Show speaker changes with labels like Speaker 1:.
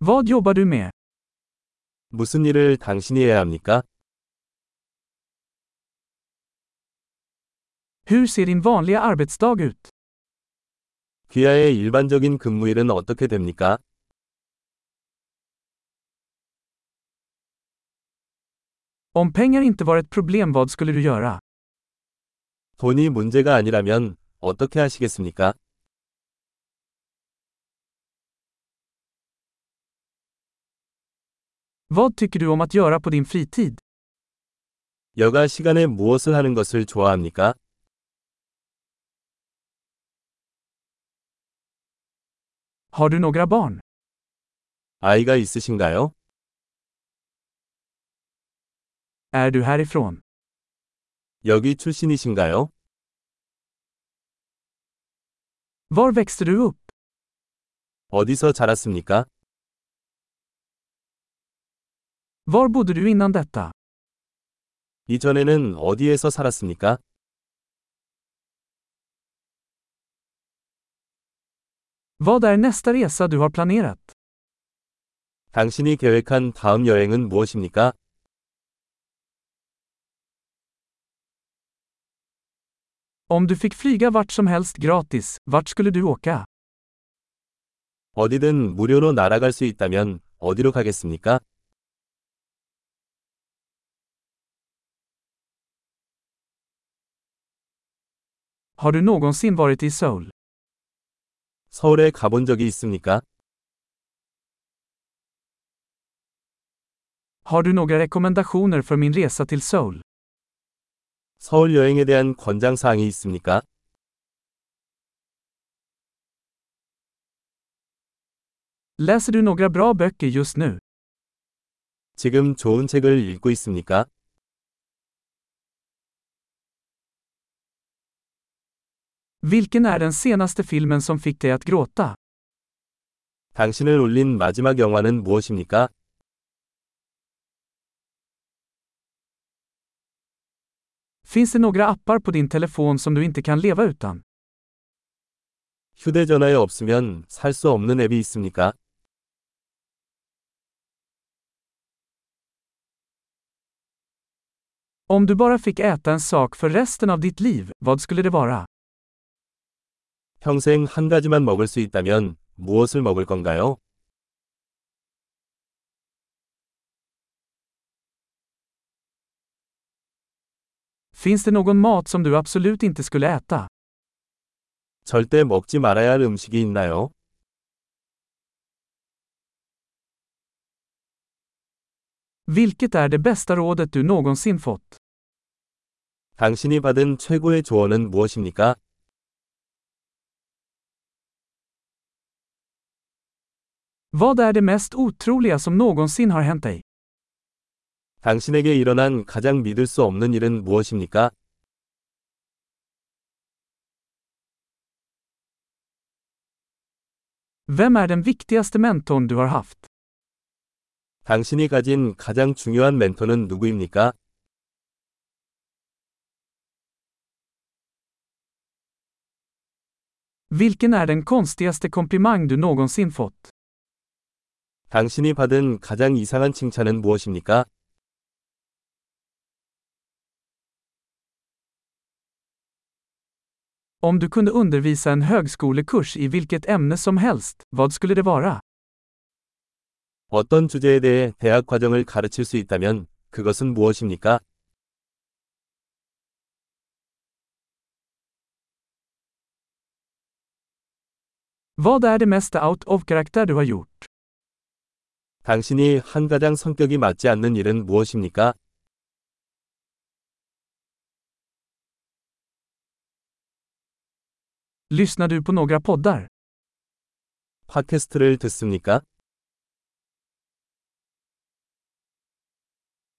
Speaker 1: Vad jobbar du med?
Speaker 2: 무슨 일을 당신이 해야 합니까?
Speaker 1: Hur ser din vanliga arbetsdag ut?
Speaker 2: 귀하의 일반적인 근무일은 어떻게 됩니까?
Speaker 1: Om pengar inte var ett problem vad skulle du göra?
Speaker 2: 돈이 문제가 아니라면 어떻게 하시겠습니까?
Speaker 1: Vad tycker du om att göra på din fritid?
Speaker 2: 여가 시간에 무엇을 하는 것을 좋아합니까?
Speaker 1: Har du några barn?
Speaker 2: 아이가 있으신가요?
Speaker 1: Är du härifrån?
Speaker 2: 여기 출신이신가요?
Speaker 1: Var växte du upp?
Speaker 2: 어디서 자랐습니까?
Speaker 1: Var bodde du innan detta?
Speaker 2: 이전에는 어디에서 살았습니까?
Speaker 1: Vad är nästa resa du har planerat?
Speaker 2: 당신이 계획한 다음 여행은 무엇입니까?
Speaker 1: Om du fick flyga vart som helst gratis, vart skulle du åka?
Speaker 2: 어디든 무료로 날아갈 수 있다면 어디로 가겠습니까?
Speaker 1: Har du någonsin varit i Seoul?
Speaker 2: 서울에 가본 적이 있습니까?
Speaker 1: Har du några rekommendationer för min resa till Seoul?
Speaker 2: 서울 여행에 대한 권장 사항이 있습니까?
Speaker 1: Läser du några bra böcker just nu?
Speaker 2: 지금 좋은 책을 읽고 있습니까?
Speaker 1: Vilken är den senaste filmen som fick dig att gråta?
Speaker 2: 당신을 울린 마지막 영화는 무엇입니까?
Speaker 1: Finns det några appar på din telefon som du inte kan leva utan?
Speaker 2: 휴대전화에 없으면 살 수 없는 앱이 있습니까?
Speaker 1: Om du bara fick äta en sak för resten av ditt liv, vad skulle det vara?
Speaker 2: 평생 한 가지만 먹을 수 있다면 무엇을 먹을 건가요?
Speaker 1: Finns det någon mat som du absolut inte skulle äta?
Speaker 2: 절대 먹지 말아야 할 음식이 있나요?
Speaker 1: Vilket är det bästa rådet du någonsin fått?
Speaker 2: 당신이 받은 최고의 조언은 무엇입니까?
Speaker 1: Vad är det mest otroliga som någonsin har hänt dig?
Speaker 2: 당신에게 일어난 가장 믿을 수 없는 일은 무엇입니까?
Speaker 1: Vem är den viktigaste mentorn du har haft?
Speaker 2: 당신이 가진 가장 중요한 멘토는 누구입니까?
Speaker 1: Vilken är den konstigaste komplimang du någonsin fått?
Speaker 2: 당신이 받은 가장 이상한 칭찬은 무엇입니까?
Speaker 1: Om du kunde undervisa en högskolekurs i vilket ämne som helst, vad skulle det vara?
Speaker 2: 어떤 주제에 대해 대학 과정을 가르칠 수 있다면 그것은 무엇입니까?
Speaker 1: Vad är det mesta out of karaktär du har gjort?
Speaker 2: 당신이 한 가장 성격이 맞지 않는 일은 무엇입니까?
Speaker 1: Lyssnar du på några poddar?
Speaker 2: 팟캐스트를 듣습니까?